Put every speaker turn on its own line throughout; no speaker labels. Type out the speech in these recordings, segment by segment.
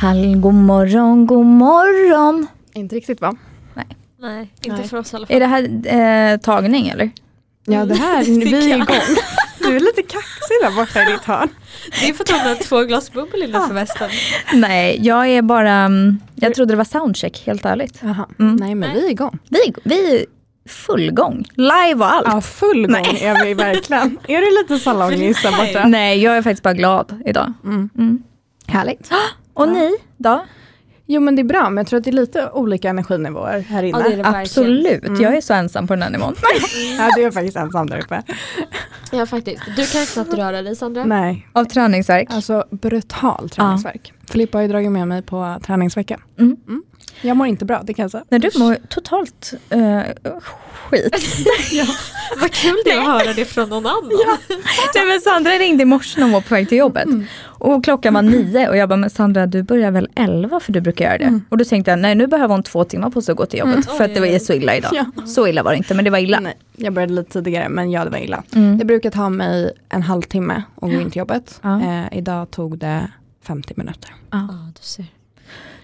Hall, god morgon, god morgon.
Inte riktigt va?
Nej, inte
Nej.
för oss i alla fall.
Är det här eh, tagning eller?
Ja det här,
Tycker
vi är
jag.
igång. Du är lite kaxig där borta i ditt hörn.
Det är för att hon har två glas bubbel innanför västen.
Nej, jag är bara, mm, jag trodde det var soundcheck helt ärligt.
Jaha.
Mm.
Nej men vi är igång.
Vi, vi är full gång, live och allt.
Ja full gång är vi verkligen. Är du lite salongis där borta?
Nej, jag är faktiskt bara glad idag.
Mm.
Mm.
Härligt.
Och ni då?
Jo men det är bra men jag tror att det är lite olika energinivåer här inne.
Ja, det är det. Verkligen.
Absolut, jag är så ensam på den här nivån.
Ja, du är faktiskt ensam där uppe.
Ja faktiskt. Du kan knappt röra dig Sandra.
Nej,
Av träningsvärk.
alltså brutal träningsvärk. Filippa har ju dragit med mig på träningsvecka.
Mm.
Jag mår inte bra, det kan jag säga.
När du mår totalt eh, skit.
Vad kul det är att höra det från någon annan.
Nej, men Sandra ringde i morse när hon var på väg till jobbet. Och klockan var nio och jag bara, men Sandra du börjar väl elva för du brukar göra det. Och då tänkte jag, nej nu behöver hon två timmar på sig att gå till jobbet. För att det var
Oj, oj,
så illa idag.
Ja.
Så illa var det inte, men det var illa.
Nej, jag började lite tidigare men ja det var illa.
Mm.
Jag brukar ta mig en halvtimme och gå in till jobbet.
Ja.
Eh, idag tog det 50 minuter.
Ja, du ser.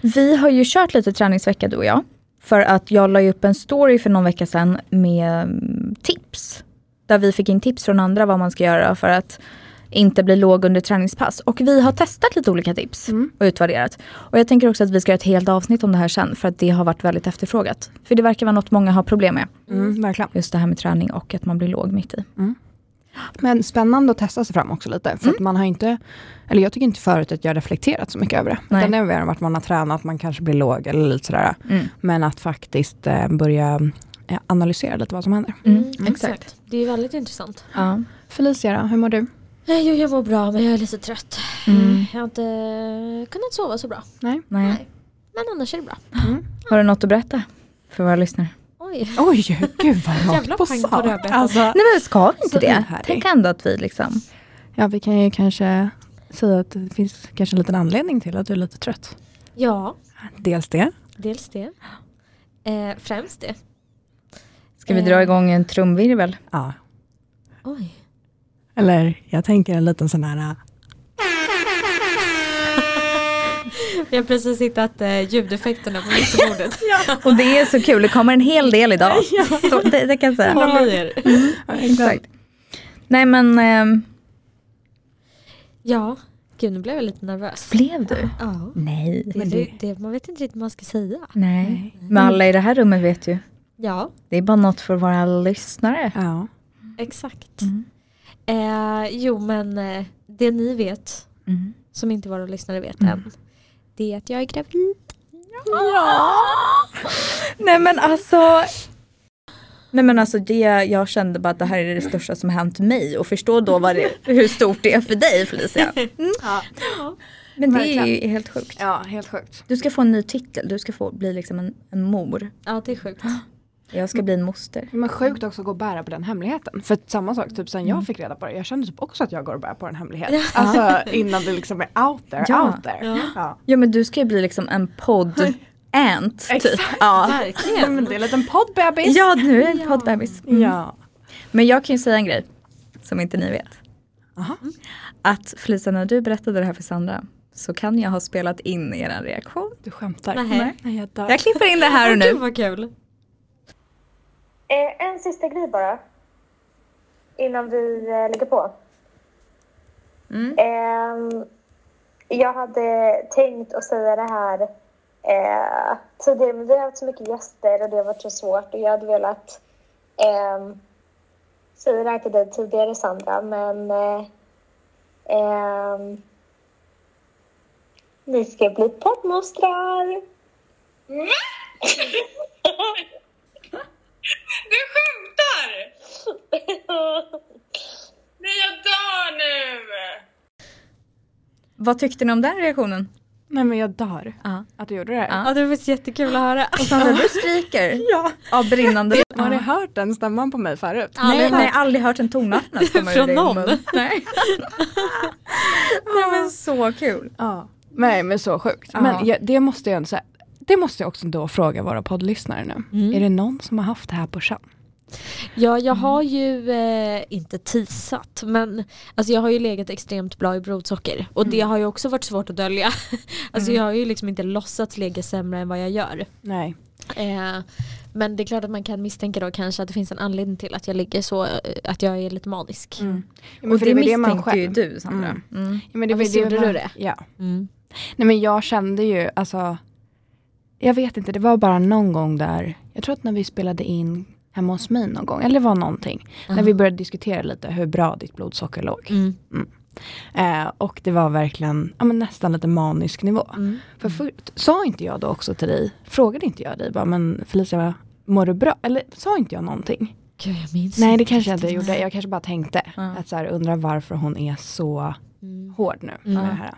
Vi har ju kört lite träningsvecka du och jag. För att jag la ju upp en story för någon vecka sedan med mm, tips. Där vi fick in tips från andra vad man ska göra för att inte bli låg under träningspass. Och vi har testat lite olika tips
Mm.
och utvärderat. Och jag tänker också att vi ska göra ett helt avsnitt om det här sen för att det har varit väldigt efterfrågat. För det verkar vara något många har problem med.
Mm, verkligen.
Just det här med träning och att man blir låg mitt i.
Men spännande att testa sig fram också lite. För att man har inte, eller jag tycker inte förut att jag reflekterat så mycket över det.
Nej.
Utan det har mer varit man har tränat, man kanske blir låg eller lite sådär.
Mm.
Men att faktiskt eh, börja eh, analysera lite vad som händer.
Exakt.
Mm. Det är väldigt intressant.
Ja.
Felicia då, hur mår du?
Nej, Jo, jag mår bra men jag är lite trött.
Mm.
Jag har inte kunnat sova så bra.
Nej.
Men annars är det bra.
Har du något att berätta för våra lyssnare?
Oj.
Mm. Oj, gud vad
Jävla
rakt på
pang på
sak.
rödbetan.
Alltså,
Nej men ska vi inte
Så
det?
ihärdig.
Tänk ändå att vi liksom
ja, vi kan ju kanske säga att det finns kanske en liten anledning till att du är lite trött.
Ja,
Dels det.
dels det. Eh, främst det.
Ska vi dra igång en trumvirvel?
Ja.
Oj.
Eller jag tänker en liten sån här... äh,
Vi har precis hittat eh, ljudeffekterna på mixerbordet.
Och det är så kul, det kommer en hel del idag. Så, det, det kan jag säga.
Håll i er.
Exakt. Nej men, ehm,
Ja, gud nu blev jag lite nervös.
blev du?
Ja.
Nej.
Det,
Men
det, det, man vet inte riktigt vad man ska säga.
Nej. Men alla i det här rummet vet ju.
Ja,
Det är bara något för våra lyssnare.
Ja.
exakt. Eh, jo men eh, det ni vet,
Mm.
som inte våra lyssnare vet än, det är att jag är gravid.
Ja! Nej men alltså. Nej men alltså det, jag kände bara att det här är det största som hänt mig och förstå då vad det, hur stort det är för dig Felicia. Mm. Men det är ju helt sjukt.
ja, helt sjukt.
Du ska få en ny titel, du ska få bli liksom en, en mor.
Ja det är sjukt. Ah.
Jag ska bli en moster.
Men sjukt också att gå och bära på den hemligheten. För att samma sak, typ sen
Mm.
jag fick reda på det, jag kände typ också att jag går och bär på en hemlighet. Alltså innan det liksom är out there,
Ja.
out there.
Ja.
Ja men du ska ju bli liksom en podd ant typ.
Exakt.
Ja.
Nej,
Verkligen.
men det är en liten poddbebis.
ja, Mm. nu är det en poddbebis.
Ja.
Men jag kan ju säga en grej som inte ni vet.
Aha.
Att Felicia när du berättade det här för Sandra så kan jag ha spelat in er reaktion.
Du skämtar.
Nej.
Nej, jag dör.
Jag klipper in det här och
Gud
nu.
vad kul.
Eh, en sista grej bara. Innan vi eh, lägger på. Ehm, jag hade tänkt att säga det här eh, tidigare, men vi har haft så mycket gäster och det har varit så svårt. Och jag hade velat ehm, säga det här till dig tidigare, Sandra, men... Eh, ehm, ni ska bli poddmostrar!
Du skämtar! Nej, jag dör nu!
Vad tyckte ni om den reaktionen?
Nej men jag dör
Ja.
att du gjorde det här.
Ja.
Ja, det var faktiskt jättekul att höra.
Och Sandra du skriker
Ja.
av brinnande
Har ni
Ja.
hört den stämman på mig förut?
Ja.
Nej, nej, aldrig hört en tonart komma ur
Från
din
någon.
mun. Nej. nej men så kul.
Ja. Nej men så sjukt.
Ja.
Men jag, det måste jag ändå säga. Det måste jag också då fråga våra poddlyssnare nu.
Mm.
Är det någon som har haft det här på känn?
Ja, jag har ju, eh, inte tisat, men alltså jag har ju legat extremt bra i blodsocker. Och det har ju också varit svårt att dölja. alltså jag har ju liksom inte låtsats ligga sämre än vad jag gör.
Nej.
Eh, men det är klart att man kan misstänka då kanske att det finns en anledning till att jag ligger så, eh, att jag är lite manisk.
Mm. Ja, men
Och
för
det,
var man
misstänkte ju
själv-
du Sandra.
Mm.
Mm.
Ja, men
Ja,
var
visst gjorde
man-
du det?
Ja.
Mm.
Nej men jag kände ju, alltså, jag vet inte, det var bara någon gång där, jag tror att när vi spelade in hemma hos mig någon gång, eller det var någonting, när vi började diskutera lite hur bra ditt blodsocker låg.
Mm.
Eh, och det var verkligen, ja men nästan lite manisk nivå.
Mm.
För förut, sa inte jag då också till dig, frågade inte jag dig bara, men Felicia, mår du bra? Eller sa inte jag någonting?
Gud, jag minns
Nej det
inte
kanske jag inte
riktigt.
gjorde, jag kanske bara tänkte,
Ja.
att så här, undra varför hon är så
Mm.
hård nu med det här.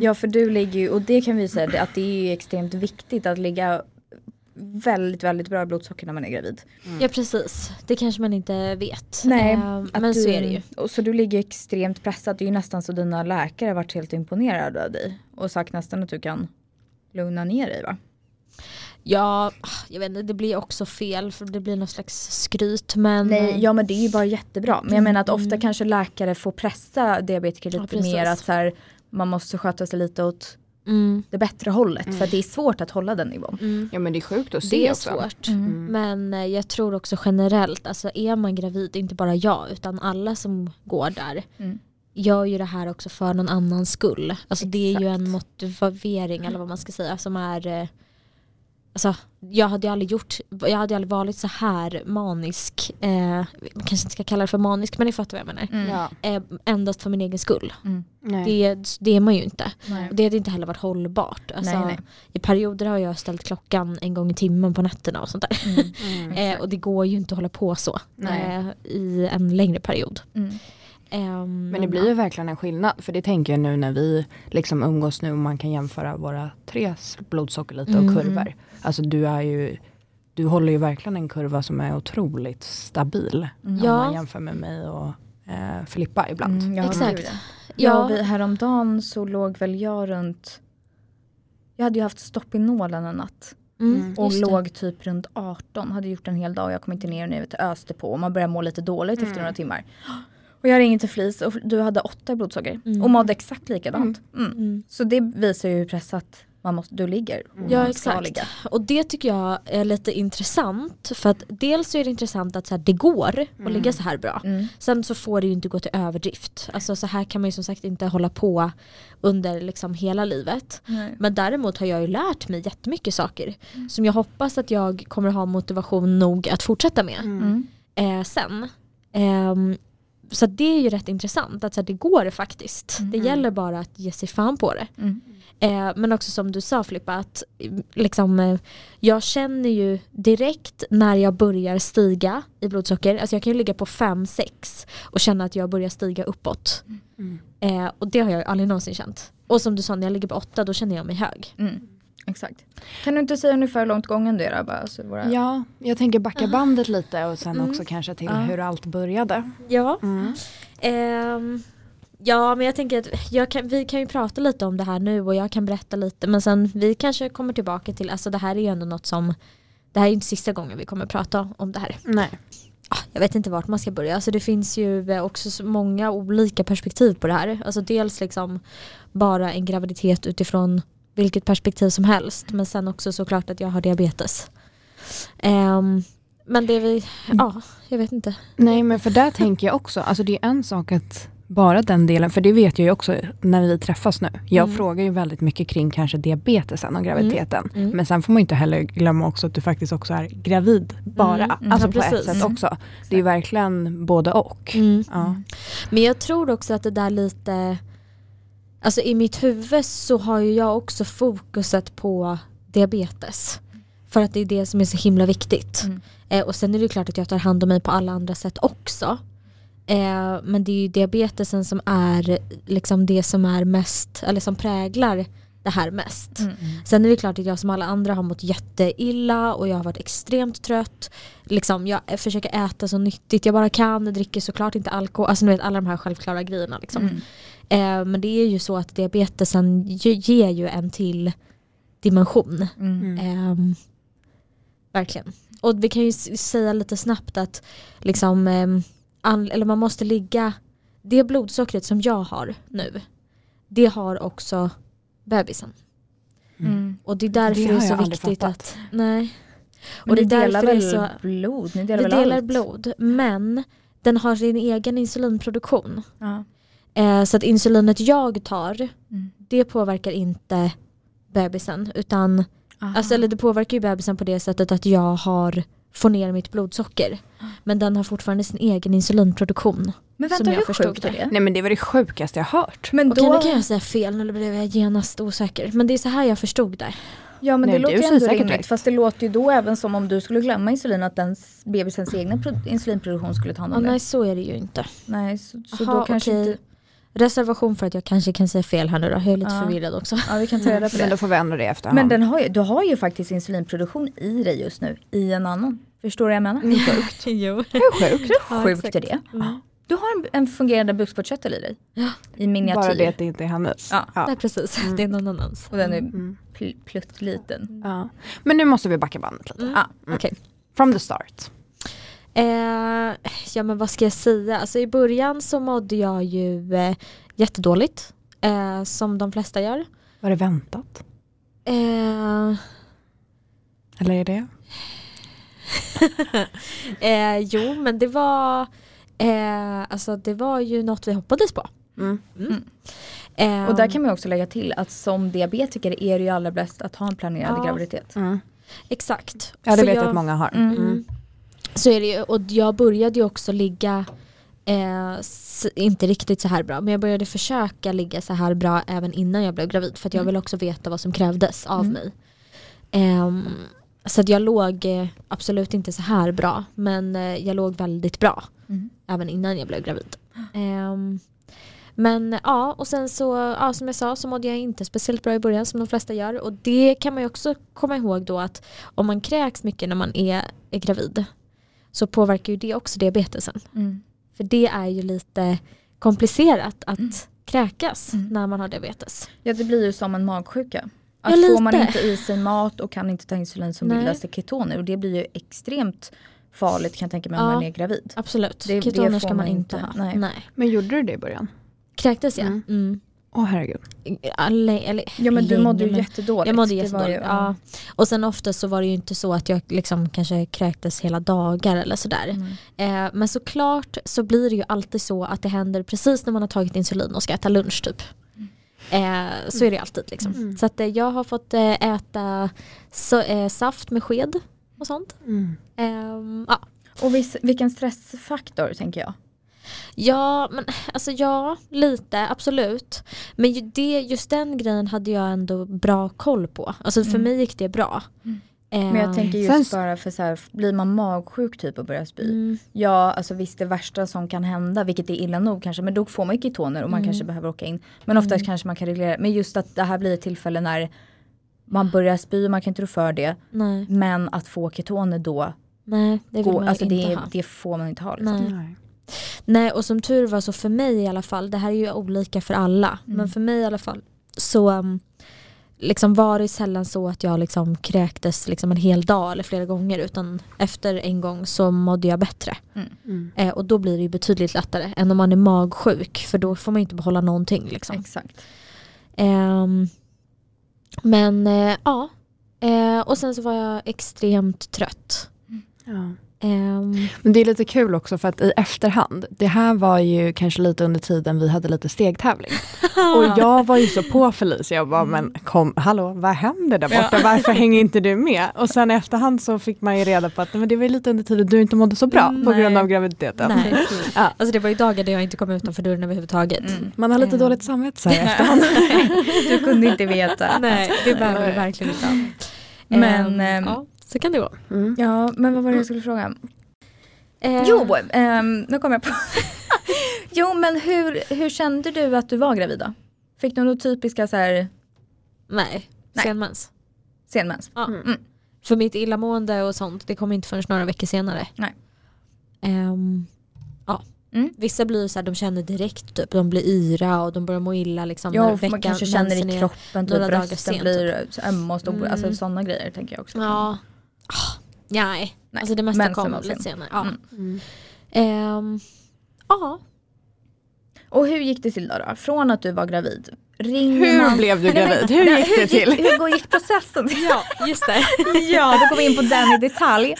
Ja för du ligger ju, och det kan vi säga det- att det är ju extremt viktigt att ligga väldigt väldigt bra i blodsocker när man är gravid.
Ja precis, det kanske man inte vet.
Nej,
Eh,
att
men
du,
så är det ju.
Och så du ligger extremt pressad. Det är ju nästan så dina läkare har varit helt imponerade av dig. Och sagt nästan att du kan lugna ner dig va?
Ja, ah, jag vet inte, det blir också fel för det blir någon slags skryt men eh,
Nej, ja men det är ju bara jättebra. Men jag menar att ofta kanske läkare får pressa diabetiker
Mm. Ja,
lite
precis.
mer att så här, man måste sköta sig lite åt
mm,
det bättre hållet för att det är svårt att hålla den nivån.
mm.
Ja men det är sjukt att
Det är svårt.
Mm.
Men eh, jag tror också generellt, alltså är man gravid, inte bara jag utan alla som går där
Mm.
gör ju det här också för någon annans skull. Alltså det är ju en motivering eller vad man ska säga som är eh, Alltså, jag hade ju aldrig gjort, jag hade ju aldrig varit så här manisk, eh, man kanske inte ska kalla det för manisk men ni fattar vad jag menar.
Mm.
Ja.
Eh, endast för min egen skull.
Nej.
Det, det är man ju inte.
Nej.
Och Det hade inte heller varit hållbart. Alltså,
Nej, nej.
I perioder har jag ställt klockan en gång i timmen på nätterna och sånt där.
Mm.
eh, och det går ju inte att hålla på så
Nej.
eh, i en längre period.
Mm.
Ehm,
Men det blir ju verkligen en skillnad, för det tänker jag nu när vi liksom umgås nu och man kan jämföra våra tre blodsocker lite
Mm.
och kurvor. Alltså du är ju, du håller ju verkligen en kurva som är otroligt stabil. Om
Ja.
man jämför med mig och eh, Filippa ibland.
Mm, ja,
Exakt.
Mm. gud, ja. Ja,
ja,
och vi, häromdagen så låg väl jag runt jag hade ju haft stoppinolen en natt
mm,
och
just det.
låg typ runt 18. Hade gjort en hel dag och jag kom inte ner och ni vet, öste på och man började må lite dåligt
Mm.
efter några timmar. Och jag ringde till Flis och du hade åtta i blodsocker och mådde exakt likadant. Mm.
Mm.
Så det visar ju hur pressat man måste, du ligger. och
Ja
man ska
exakt.
ligga.
Och det tycker jag är lite intressant. För att dels så är det intressant att så här, det går att
Mm.
ligga så här bra. Sen så får det ju inte gå till överdrift. Alltså så här kan man ju som sagt inte hålla på under liksom hela livet.
Nej.
Men däremot har jag ju lärt mig jättemycket saker.
Mm.
Som jag hoppas att jag kommer ha motivation nog att fortsätta med
Mm.
eh, sen. Ehm, så att det är ju rätt intressant att så här, det går faktiskt. Det gäller bara att ge sig fan på det.
Mm.
Eh, men också som du sa Filippa, att eh, liksom, eh, jag känner ju direkt när jag börjar stiga i blodsocker, alltså jag kan ju ligga på 5-6 och känna att jag börjar stiga uppåt. Eh, och det har jag ju aldrig någonsin känt. Och som du sa, när jag ligger på 8 då känner jag mig hög.
Mm. Exakt. Kan du inte säga ungefär hur långt gången du är Rabba? Så våra...
Ja, jag tänker
Ah.
backa bandet lite och sen också
Mm.
kanske till hur allt började.
Ja. Ehm, ja men jag tänker att jag kan, vi kan ju prata lite om det här nu och jag kan berätta lite men sen vi kanske kommer tillbaka till, alltså det här är ju ändå något som det här är ju inte sista gången vi kommer prata om det här.
Nej.
Ah, Jag vet inte vart man ska börja, alltså det finns ju eh, också så många olika perspektiv på det här. Alltså dels liksom bara en graviditet utifrån vilket perspektiv som helst men sen också såklart att jag har diabetes. Ehm, men det vi, ja jag vet inte.
Nej, men för där tänker jag också, alltså det är en sak att bara den delen, för det vet jag ju också när vi träffas nu. Jag
Mm.
frågar ju väldigt mycket kring kanske diabetesen och graviditeten.
Mm.
Men sen får man ju inte heller glömma också att du faktiskt också är gravid bara.
Mm,
Alltså
ja,
på ett
precis.
sätt också. Det är ju verkligen både och.
Mm.
Ja.
Men jag tror också att det där lite, alltså i mitt huvud så har ju jag också fokuset på diabetes. För att det är det som är så himla viktigt. Eh, och sen är det ju klart att jag tar hand om mig på alla andra sätt också. Eh, men det är ju diabetesen som är liksom det som är mest, eller som präglar det här mest.
Mm.
Sen är det klart att jag som alla andra har mått jätteilla och jag har varit extremt trött. Liksom, jag försöker äta så nyttigt jag bara kan, dricker såklart inte alkohol, alltså ni vet alla de här självklara grejerna. Liksom.
Mm.
Eh, men det är ju så att diabetesen ju, ger ju en till dimension.
Mm.
Mm.
Ehm, verkligen. Och vi kan ju s- säga lite snabbt att liksom, ehm, an, eller man måste ligga, det blodsockret som jag har nu, det har också bebisen.
Mm.
Och det är därför
Det
det,
har
är så
jag aldrig
viktigt
fattat.
att, nej.
Men
det
ni
är därför
delar
det är
väl
så-
blod? Ni delar
Vi
väl
delar
allt?
blod, men den har sin egen insulinproduktion.
Ja.
Eh, så att insulinet jag tar,
Mm.
det påverkar inte bebisen. Utan,
Aha.
alltså, eller det påverkar ju bebisen på det sättet att jag har får ner mitt blodsocker. Men den har fortfarande sin egen insulinproduktion.
men
som
vänta,
jag
hur
förstod
sjukt är
det.
det?
Nej men det var det sjukaste jag hört.
Men
Okej
då,
nu kan jag säga fel, nu blev jag genast osäker. Men det är så här jag förstod det.
ja, men det
Nej, du
låter ju
säger
ändå
säkert
rimligt.
rätt.
Fast det låter ju då även som om du skulle glömma insulin att den s- bebisens egna pro- insulinproduktion skulle ta hand
Ja,
om
nej
det.
så är det ju inte.
Nej, så, så
Aha,
då kanske
okej.
inte...
Reservation för att jag kanske kan säga fel här nu då. Jag är lite
Ja.
förvirrad också.
Ja, vi kan ta reda på
Men då
det.
får vi ändra det i efterhand.
Men den har ju, du har ju faktiskt insulinproduktion i dig just nu, i en annan. Förstår du vad jag menar? Hur sjukt,
jo.
Hur sjukt?
Ja,
sjukt
exakt.
är det?
Mm.
Du har en, en fungerande bukspottkörtel i dig. I miniatyr.
Bara det att det inte är hennes.
Ja.
Nej precis, det är någon annans.
Och den är pl- pluttliten.
Ja. Men nu måste vi backa bandet lite.
Ah,
Okej.
From the start.
Eh, ja men vad ska jag säga, alltså i början så mådde jag ju eh, jättedåligt. Eh, som de flesta gör.
Var det väntat?
Eh,
Eller är det?
eh, jo men det var, eh, alltså det var ju något vi hoppades på.
Mm.
Eh,
Och där kan man ju också lägga till att som diabetiker är det ju allra bäst att ha en planerad
Ja.
graviditet.
Exakt.
Ja det
Så
vet jag
jag-
att många har.
Mm.
Mm.
Så är det ju. Och jag började ju också ligga, eh, s- inte riktigt så här bra, men jag började försöka ligga så här bra även innan jag blev gravid. För att jag ville också veta vad som krävdes av
Mm.
mig. Ehm, så att jag låg eh, absolut inte så här bra, men eh, jag låg väldigt bra
Mm.
även innan jag blev gravid. Ehm, men ja, och sen så, ja, som jag sa så mådde jag inte speciellt bra i början som de flesta gör. Och det kan man ju också komma ihåg då att om man kräks mycket när man är, är gravid så påverkar ju det också diabetesen.
Mm.
För det är ju lite komplicerat att kräkas
Mm.
när man har diabetes.
Ja det blir ju som en magsjuka.
Ja,
Att får man
lite.
inte i sig mat och kan inte ta insulin så
Nej.
bildas det ketoner och det blir ju extremt farligt kan jag tänka mig om
Ja.
man är gravid.
Absolut,
Det- det
ketoner
får
ska man
man
inte
inte.
ha.
Nej.
Men gjorde du det i början?
Kräktes jag?
Mm.
Mm.
Åh herregud.
Alle, eller,
Ja men du
länge,
mådde ju
men-
jättedåligt.
Jag mådde
Det var
jättedåligt.
ju-
ja. Och sen ofta så var det ju inte så att jag liksom kanske kräktes hela dagar eller sådär.
Mm.
Eh, men såklart så blir det ju alltid så att det händer precis när man har tagit insulin och ska äta lunch typ. Eh, så är det alltid liksom. Så att, eh, jag har fått eh, äta så, eh, saft med sked och sånt. Ehm, ja.
Och vis, vilken stressfaktor tänker jag.
Ja, men alltså ja, lite absolut. Men ju det, just den grejen hade jag ändå bra koll på. Alltså för mig gick det bra.
Men jag
Ehm,
tänker just
Sen s-
bara för så här, blir man magsjuk typ och börjar spy.
mm,
Ja, alltså visst det värsta som kan hända, vilket är illa nog kanske, men då får man ju ketoner och man kanske behöver åka in. Men oftast kanske man kan reglera, men just att det här blir ett tillfälle när man börjar spy och man kan inte rå för det.
nej,
Men att få ketoner då,
nej, det vill
går,
man ju
alltså
inte
det,
ha.
det får man inte ha. Liksom.
Nej. nej, och som tur var så för mig i alla fall, det här är ju olika för alla,
Mm.
men för mig i alla fall så um, liksom var det sällan så att jag liksom kräktes liksom en hel dag eller flera gånger utan efter en gång så mådde jag bättre. Eh, och då blir det ju betydligt lättare än om man är magsjuk för då får man ju inte behålla någonting. Liksom.
Exakt.
Ehm, men eh, ja, Eh, och sen så var jag extremt trött.
Ja.
Ehm,
Men det är lite kul också för att i efterhand, det här var ju kanske lite under tiden vi hade lite stegtävling. Och jag var ju så på Felicia och bara, men kom, hallå, vad händer där borta? Varför hänger inte du med? Och sen i efterhand så fick man ju reda på att nej, men det var ju lite under tiden du inte mådde så bra på
Nej.
grund av graviditeten.
nej.
Ja.
Alltså det var ju dagar där jag inte kom utanför dörren överhuvudtaget.
Mm.
Man har lite
Mm.
dåligt samvete så här i efterhand.
Du kunde inte veta.
Nej, det bär
Nej.
vi verkligen inte av.
Men,
Ehm,
ehm,
ja, så kan det vara.
Mm. Ja, men vad var det jag skulle fråga?
Ehm,
Jo, ehm, nu kom jag på. Jo men hur, hur kände du att du var gravid då? Fick du några typiska så här,
Nej,
Nej.
senmens.
senmens?
Ja.
Mm.
För mitt illamående och sånt, det kom inte förrän några veckor senare.
Nej.
Ehm, ja.
Mm.
Vissa blir ju så här, de känner direkt typ, de blir yra och de börjar må illa liksom.
Ja, och
när
man
veckan-
kanske känner
mensen
i
är-
kroppen, typ
några dagar
brösten
sent,
blir ömma och stora, alltså
Mm.
sådana grejer tänker jag också.
Ja. Ah, nej.
Nej,
alltså det mesta
mensen
kom
var
lite
sen.
senare. Ja.
Mm.
Ehm, ja.
Och hur gick det till då, då? Från att du var gravid, ringer
Hur
man?
blev du
Nej, nej,
gravid? Hur
nej,
gick det till?
Hur går- gick processen?
ja, just det.
ja, då går vi in på den i detalj.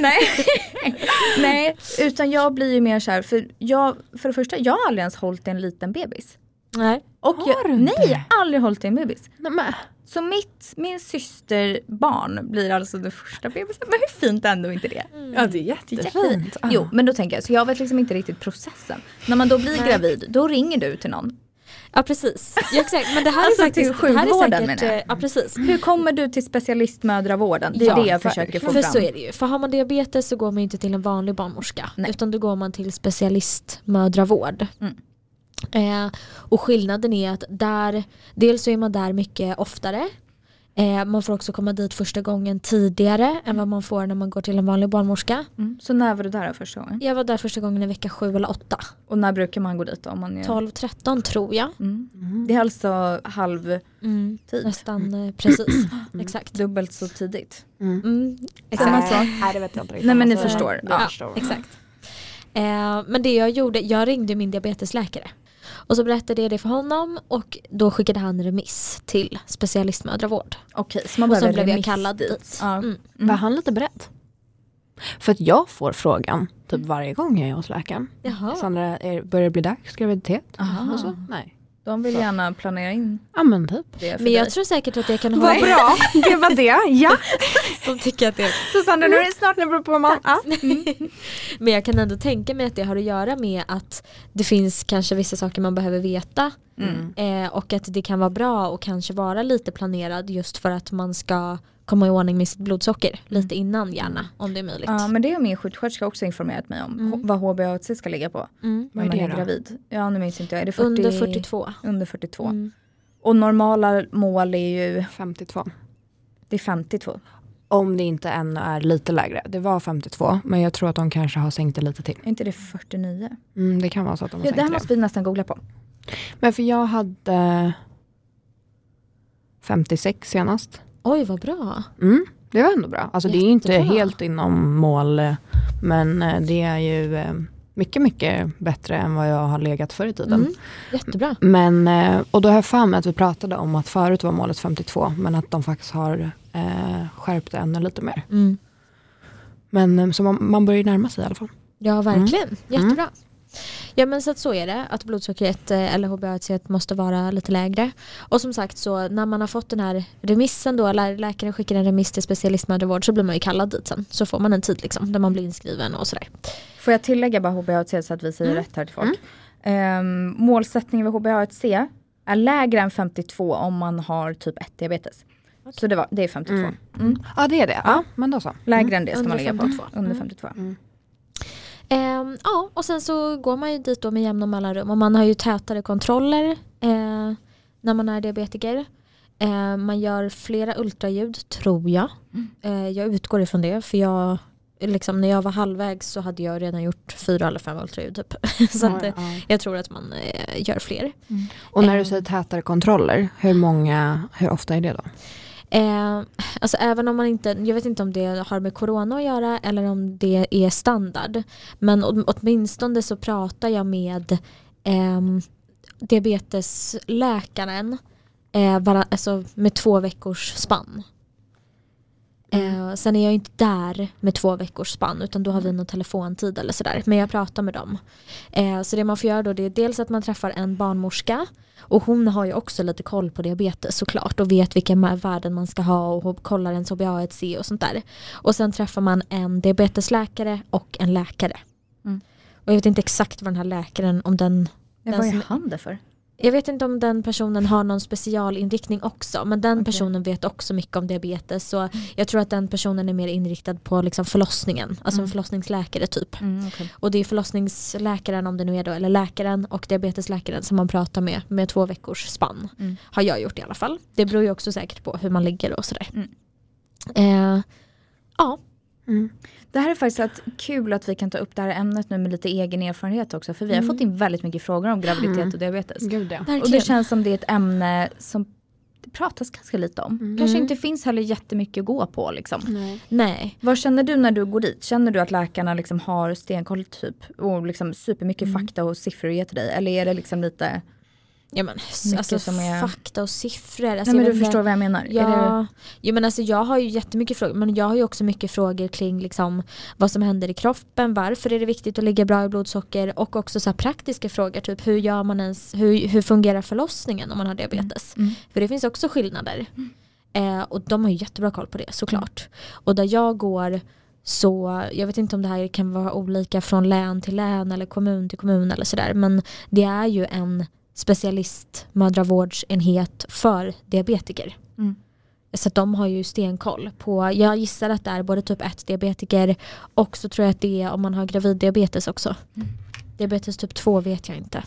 Nej. Nej, utan jag blir ju mer så här, för, jag, för det första, jag har aldrig ens hållit en liten bebis.
nej.
Och
Har
jag,
du inte?
nej, jag har aldrig hållit en bebis.
Nej, men.
Så mitt, min systerbarn blir alltså det första bebisen. Men hur fint ändå är inte det?
Ja, det är Mm. jättefint. Ah.
Jättefint. Jo, men då tänker jag, så jag vet liksom inte riktigt processen. När man då blir
Nej.
gravid, då ringer du till någon.
Ja precis. Ja, exakt. Men det här
Alltså,
är
till
faktiskt... det här är
sjukvården,
säkert,
menar jag.
eh, Ja precis.
Hur kommer du till specialistmödravården? Det är
Ja,
det jag
verkligen.
försöker få
För
fram.
så är det ju. För har man diabetes så går man ju inte till en vanlig barnmorska.
Nej.
Utan då går man till specialistmödravård.
Mm.
Eh, och skillnaden är att där, dels så är man där mycket oftare. Eh, man får också komma dit första gången tidigare än vad man får när man går till en vanlig barnmorska.
Mm. Så när var du där då första gången?
Jag var där första gången i vecka sju eller åtta.
Och när brukar man gå dit då, om man är...
12-13 tror jag.
Mm. Det är alltså halv Tid.
Nästan eh,
Mm.
precis. Exakt.
dubbelt så tidigt.
Mm,
Exakt.
exakt.
Nej, det vet jag inte. Alltså,
Nej men ni förstår.
Jag
Ja.
förstår.
Exakt. Eh, men det jag gjorde, jag ringde min diabetesläkare. Och så berättade jag det för honom och då skickade han remiss till specialistmödravård.
Okej, så man
Och så
behöver
blev jag
remiss
kallad dit.
Ja.
Mm.
Var han lite beredd? För att jag får frågan typ varje gång jag är hos läkaren.
Jaha.
Sandra, är, börjar det bli dags graviditet?
Aha.
Och så, nej.
De vill gärna planera in
Ja men typ.
det för
Men jag
dig.
tror säkert att jag kan ha
Vad bra, det var det. Ja.
De tycker att det är-
Susanne, nu är det snart, det beror på vad man... Ja.
Men jag kan ändå tänka mig att det har att göra med att det finns kanske vissa saker man behöver veta. Eh, och att det kan vara bra och kanske vara lite planerad just för att man ska komma i ordning med sitt blodsocker lite innan gärna om det är möjligt.
Ja men det har min sjuksköterska också informerat mig om. H- Vad HbA1c ska ligga på.
Mm.
När
är
man
det
är
då?
gravid. Ja nu minns inte jag. Är det 40...
Under 42.
Under 42.
Mm.
Och normala mål är ju,
52.
det är 52.
Om det inte ännu är lite lägre. Det var 52, men jag tror att de kanske har sänkt det lite till.
Är inte det 49?
Mm, det kan vara så att de har
Ja, det här
sänkt det.
måste vi nästan googla på.
Men för jag hade 56 senast.
Oj vad bra.
Mm, det var ändå bra. Alltså det är inte
Jättebra.
helt inom mål, eh, men eh, det är ju eh, mycket, mycket bättre än vad jag har legat förr i tiden.
Mm. Jättebra.
Men, eh, och då har jag för mig att vi pratade om att förut var målet 52, men att de faktiskt har eh, skärpt det ännu lite mer.
Mm.
Men eh, så man, man börjar ju närma sig i alla fall.
Ja verkligen, jättebra. Mm. Ja men så att så är det, att blodsockret eh, eller HbA1c måste vara lite lägre. Och som sagt så när man har fått den här remissen då, eller läkaren skickar en remiss till specialistmödravård så blir man ju kallad dit sen. Så får man en tid liksom där man blir inskriven och sådär.
Får jag tillägga bara HbA1c så att vi
Mm.
säger rätt här till folk. Ehm, målsättningen vid HbA1c är lägre än 52 om man har typ 1 diabetes. Så det, var, det är 52.
Mm.
Mm.
Ja det är det, ja, men då så.
Lägre än det ska man
Mm. Under Mm.
ligga på.
52.
Under Eh, 52.
Ehm, ja och sen så går man ju dit då med jämna mellanrum och man har ju tätare kontroller eh, när man är diabetiker. Eh, man gör flera ultraljud tror jag. Eh, jag utgår ifrån det för jag liksom, när jag var halvvägs så hade jag redan gjort fyra eller fem ultraljud typ. så att, eh, jag tror att man eh, gör fler.
Och när
Eh.
du säger tätare kontroller, hur många, hur ofta är det då?
Eh, alltså även om man inte, jag vet inte om det har med corona att göra eller om det är standard. Men åt- åtminstone så pratar jag med ehm, diabetesläkaren eh, bara, alltså med två veckors spann. Eh, sen är jag inte där med två veckors spann utan då har vi någon telefontid eller sådär. Men jag pratar med dem. Eh, så det man får göra då det är dels att man träffar en barnmorska och hon har ju också lite koll på diabetes såklart och vet vilka ma- värden man ska ha och kollar ens HbA1c och sånt där. Och sen träffar man en diabetesläkare och en läkare.
Mm.
Och jag vet inte exakt vad den här läkaren, om den
Men
Den
vad är
som-
han där för?
Jag vet inte om den personen har någon specialinriktning också men den personen vet också mycket om diabetes
Mm.
så jag tror att den personen är mer inriktad på liksom förlossningen, alltså en förlossningsläkare typ.
Mm, okej.
Och det är förlossningsläkaren om det nu är då, eller läkaren och diabetesläkaren som man pratar med med två veckors spann.
Mm.
Har jag gjort i alla fall. Det beror ju också säkert på hur man ligger och sådär.
Mm.
Eh, ja,
Det här är faktiskt att, kul att vi kan ta upp det här ämnet nu med lite egen erfarenhet också. För vi har fått in väldigt mycket frågor om graviditet och diabetes.
Gud ja.
Mm. verkligen.
Och det känns som det är ett ämne som det pratas ganska lite om.
Mm.
Kanske inte finns heller jättemycket att gå på liksom.
Nej.
Vad känner du när du går dit? Känner du att läkarna liksom har stenkoll typ? Och liksom supermycket
Mm.
fakta och siffror att ge till dig? Eller är det liksom lite,
Alltså, Ja, men, s-
Mycket
alltså,
som är-
Fakta och siffror. Alltså,
nej men
jag
du
vet inte-
förstår vad jag menar? Är
Ja, jo, men alltså jag har ju jättemycket frågor men jag har ju också mycket frågor kring liksom, vad som händer i kroppen, varför är det viktigt att ligga bra i blodsocker och också så här praktiska frågor, typ hur gör man ens, hur, hur fungerar förlossningen om man har diabetes?
Mm.
För det finns också skillnader. Eh, och de har ju jättebra koll på det såklart.
Mm.
Och där jag går så jag vet inte om det här kan vara olika från län till län eller kommun till kommun eller sådär men det är ju en specialistmödravårdsenhet för diabetiker.
Mm.
Så att de har ju stenkoll på, jag gissar att det är både typ 1 diabetiker och så tror jag att det är om man har graviddiabetes också. Diabetes typ 2 vet jag inte.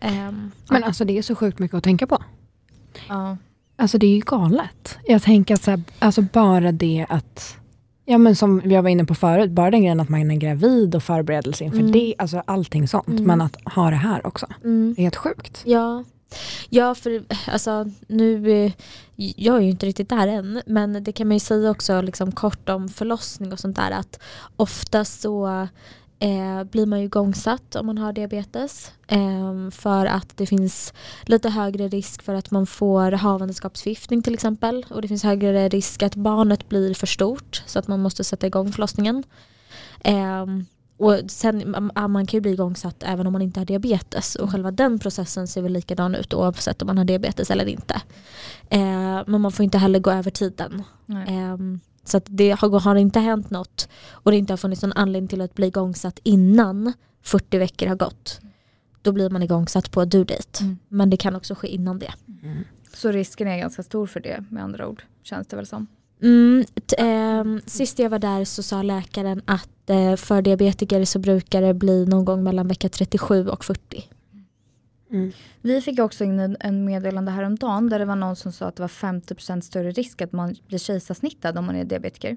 Ehm,
Men alltså det är så sjukt mycket att tänka på.
det, ja.
Alltså det är ju galet. Jag tänker att så här, alltså bara det att, ja men som jag var inne på förut, bara den grejen att man är gravid och förberedelse inför det, alltså allting sånt. Men att ha det här också,
mm.
det är helt sjukt.
Ja. Ja, för alltså, nu, eh, jag är ju inte riktigt där än, men det kan man ju säga också liksom, kort om förlossning och sånt där att ofta så eh, blir man ju igångsatt om man har diabetes eh, för att det finns lite högre risk för att man får havandeskapsförgiftning till exempel och det finns högre risk att barnet blir för stort så att man måste sätta igång förlossningen. Ehm, och sen, man man kan ju bli igångsatt även om man inte har diabetes och själva den processen ser väl likadan ut oavsett om man har diabetes eller inte. Eh, men man får inte heller gå över tiden.
Nej.
Ehm, så att det har, har det inte hänt något och det inte har funnits någon anledning till att bli igångsatt innan 40 veckor har gått. Då blir man igångsatt på due date.
Mm.
Men det kan också ske innan det.
Så risken är ganska stor för det med andra ord, känns det väl som.
Mm, t- ehm, sist jag var där så sa läkaren att eh, för diabetiker så brukar det bli någon gång mellan vecka 37 och 40.
Vi fick också in en, en meddelande häromdagen där det var någon som sa att det var 50% större risk att man blir kejsarsnittad om man är diabetiker.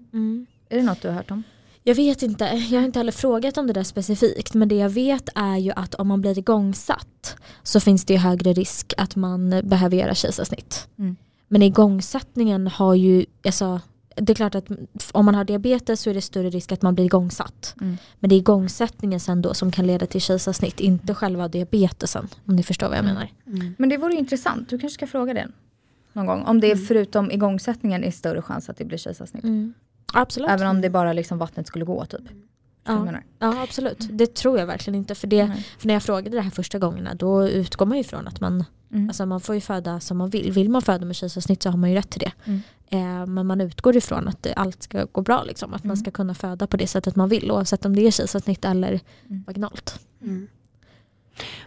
Är det något du har hört om?
Jag vet inte, jag har inte heller frågat om det där specifikt men det jag vet är ju att om man blir igångsatt så finns det ju högre risk att man behöver göra kejsarsnitt.
Mm.
Men igångsättningen har ju, alltså, det är klart att om man har diabetes så är det större risk att man blir igångsatt.
Mm.
Men det är igångsättningen sen då som kan leda till kejsarsnitt, inte själva diabetesen om ni förstår vad
Mm.
jag menar.
Men det vore ju intressant, du kanske ska fråga den någon gång. Om
Mm.
det är förutom igångsättningen är större chans att det blir kejsarsnitt.
Absolut.
Även om det bara liksom vattnet skulle gå typ. Förstår du vad jag
Mm. Ja,
menar?
ja absolut, det tror jag verkligen inte. För, det,
Nej.
för när jag frågade det här första gångerna då utgår man ju från att man,
Mm.
alltså man får ju föda som man vill. Vill man föda med kejsarsnitt så har man ju rätt till det.
Mm.
Eh, men man utgår ifrån att det- allt ska gå bra, liksom. att man ska kunna föda på det sättet man vill oavsett om det är kejsarsnitt eller vaginalt.
Mm.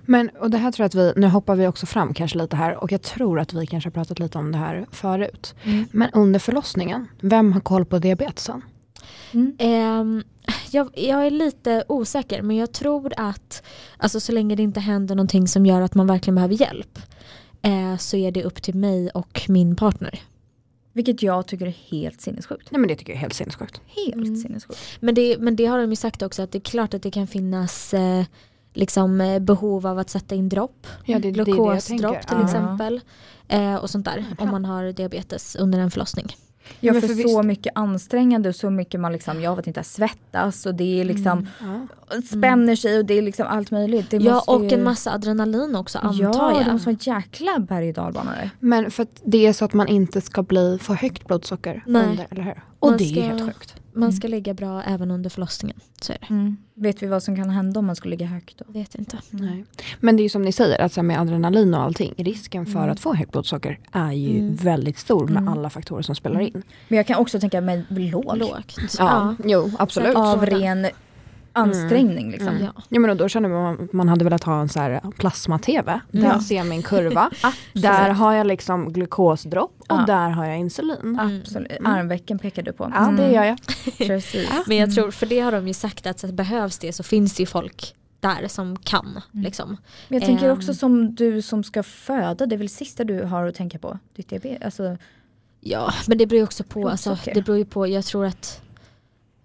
Men och det här tror jag att vi, nu hoppar vi också fram kanske lite här och jag tror att vi kanske har pratat lite om det här förut. Men under förlossningen, vem har koll på diabetesen?
Mm.
Ehm, jag, jag är lite osäker men jag tror att alltså, så länge det inte händer någonting som gör att man verkligen behöver hjälp eh, så är det upp till mig och min partner.
Vilket jag tycker är helt sinnessjukt.
Nej men det tycker jag är helt sinnessjukt.
Helt sinnessjukt.
Men det, men det har de ju sagt också att det är klart att det kan finnas eh, liksom, eh, behov av att sätta in dropp.
Ja, det- det är det jag
Glukosdropp
tänker.
till
Ja.
exempel. Eh, och sånt där. Om man har diabetes under en förlossning.
Ja,
Men
för
för
så mycket ansträngande och så mycket man liksom, jag vet inte, svettas och det är liksom spänner sig och det är liksom allt möjligt. Det
Ja
måste
och
ju-
en massa adrenalin också antar
Ja, det
jag.
måste vara en jäkla berg och dalbana där.
Men för att det är så att man inte ska bli för högt blodsocker
Nej.
under, eller hur? Och
Man
det
ska-
är helt sjukt.
Man
Mm.
ska ligga bra även under förlossningen. Så är det.
Mm. Vet vi vad som kan hända om man skulle ligga högt då?
Vet inte.
Nej. Men det är ju som ni säger, att så här med adrenalin och allting, risken
Mm.
för att få högt blodsocker är ju väldigt stor med alla faktorer som spelar
Mm.
in.
Men jag kan också tänka mig låg.
Lågt.
Ja, jo absolut.
Av ren ansträngning. Liksom.
Ja.
Ja, men och då känner man att man hade velat ha en så här plasma-tv. Där
Ja.
ser jag min kurva. där har jag liksom glukosdropp och
Ja.
där har jag insulin.
Absolut. Armvecken pekar du på. Mm.
Ja, det gör jag.
Precis.
Men
Mm.
jag tror, för det har de ju sagt att så att behövs det så finns det ju folk där som kan.
Mm.
Liksom.
Men jag tänker
Ehm.
också som du som ska föda, det är väl sista du har att tänka på? Ditt diabetes? Alltså,
Ja, men det beror ju också på. Alltså,
Blodsocker.
det beror ju på, jag tror att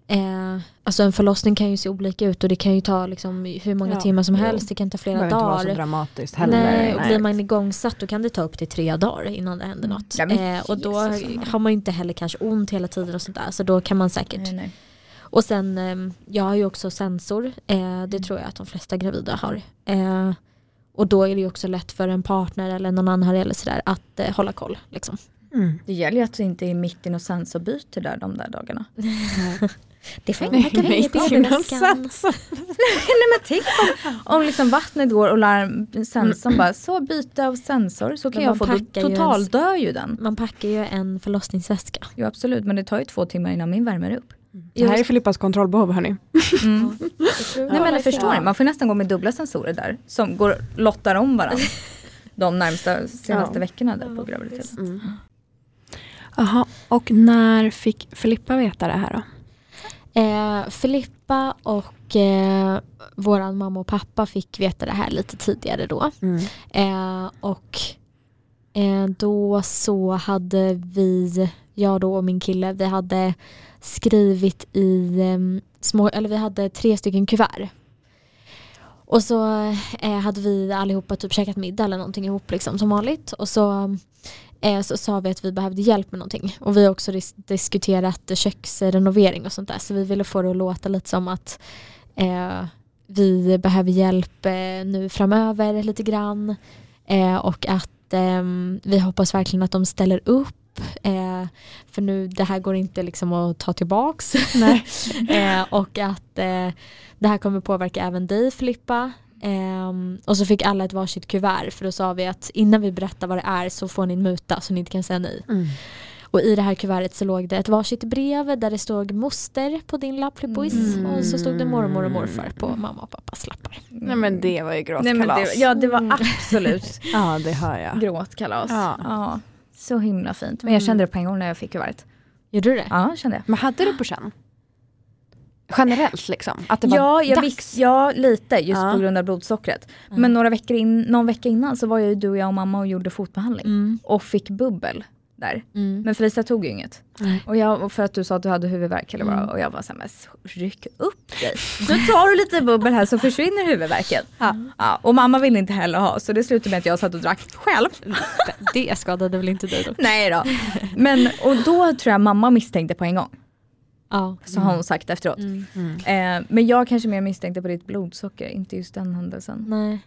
eh, alltså en förlossning kan ju se olika ut och det kan ju ta liksom, hur många
Ja,
timmar som
jo.
helst, det kan ta
Det
flera
behöver inte vara så
dagar.
dramatiskt heller.
Nej, och blir man igångsatt då kan det ta upp till tre dagar innan det händer något.
Mm. Ja, men
eh, och då
Jesus.
har man ju inte heller kanske ont hela tiden och sånt där. Så då kan man säkert.
nej, nej.
Och sen, eh, jag har ju också sensor. Eh,
Mm.
det tror jag att de flesta gravida har. Eh, och då är det ju också lätt för en partner eller någon anhörig eller sådär att eh, hålla koll. Liksom.
Mm.
Det gäller ju att du inte är mitt i något sensorbyte där de där dagarna.
Det får
Nej,
verkar
nej,
inget
det
av
är
i
ingen
väskan.
sensor.
Nej men tänk om, om liksom vattnet går och larm, sensorn bara så byte av sensor så kan
Men
jag
man
få, då
packar ju ens-
totaldör ju den.
Man packar ju en förlossningsväska.
Jo absolut men det tar ju två timmar innan min värmer upp.
Det här är Filippas kontrollbehov hörni.
Nej men jag förstår ni, man får nästan gå med dubbla sensorer där som går lottar om varandra. De närmsta senaste
Ja.
veckorna där på graviditeten.
Mm. Jaha, och när fick Filippa veta det här då?
Eh, Filippa och eh, våran mamma och pappa fick veta det här lite tidigare då.
Mm.
Eh, och eh, då så hade vi, jag då och min kille, vi hade skrivit i eh, små, eller vi hade tre stycken kuvert. Och så eh, hade vi allihopa typ käkat middag eller någonting ihop liksom som vanligt. Och så, eh, så sa vi att vi behövde hjälp med någonting. Och vi har också dis- diskuterat köksrenovering och sånt där. Så vi ville få det att låta lite som att eh, vi behöver hjälp eh, nu framöver lite grann. Eh, och att ehm, vi hoppas verkligen att de ställer upp. Eh, för nu, det här går inte liksom att ta tillbaks. eh, och att eh, det här kommer påverka även dig Filippa. Ehm, och så fick alla ett varsitt kuvert för då sa vi att innan vi berättar vad det är så får ni en muta så ni inte kan säga nej.
Mm.
Och i det här kuvertet så låg det ett varsitt brev där det stod moster på din lapp Flippois och så stod det mormor och morfar på mamma och pappas lappar.
Nej men det var ju
Nej, men det,
gråtkalas. Mm.
ja det var absolut
ja, det hör jag.
gråtkalas.
Ja.
Ja. Så himla fint. Men jag kände det på en gång när jag fick kuvertet.
Gjorde du det?
Ja kände jag.
Men hade du på känn? Generellt liksom? Att det var
Ja, jag
dags?
visste, ja lite just
Ja.
på grund av blodsockret. Men några veckor in, någon vecka innan så var jag ju du och jag och mamma och gjorde fotbehandling.
Mm.
Och fick bubbel där.
Mm.
Men Felicia tog ju inget.
Nej.
Och jag, och för att du sa att du hade huvudvärk eller vad och jag var såhär, men ryck upp dig. Nu tar du lite bubbel här så försvinner huvudvärken. Ja. och mamma ville inte heller ha så det slutade med att jag satt och drack själv.
Det skadade väl inte dig då?
Nej då. Men, och då tror jag mamma misstänkte på en gång.
Ja.
Så har hon sagt efteråt. Eh, men jag kanske mer misstänkte på ditt blodsocker, inte just den händelsen.
Nej.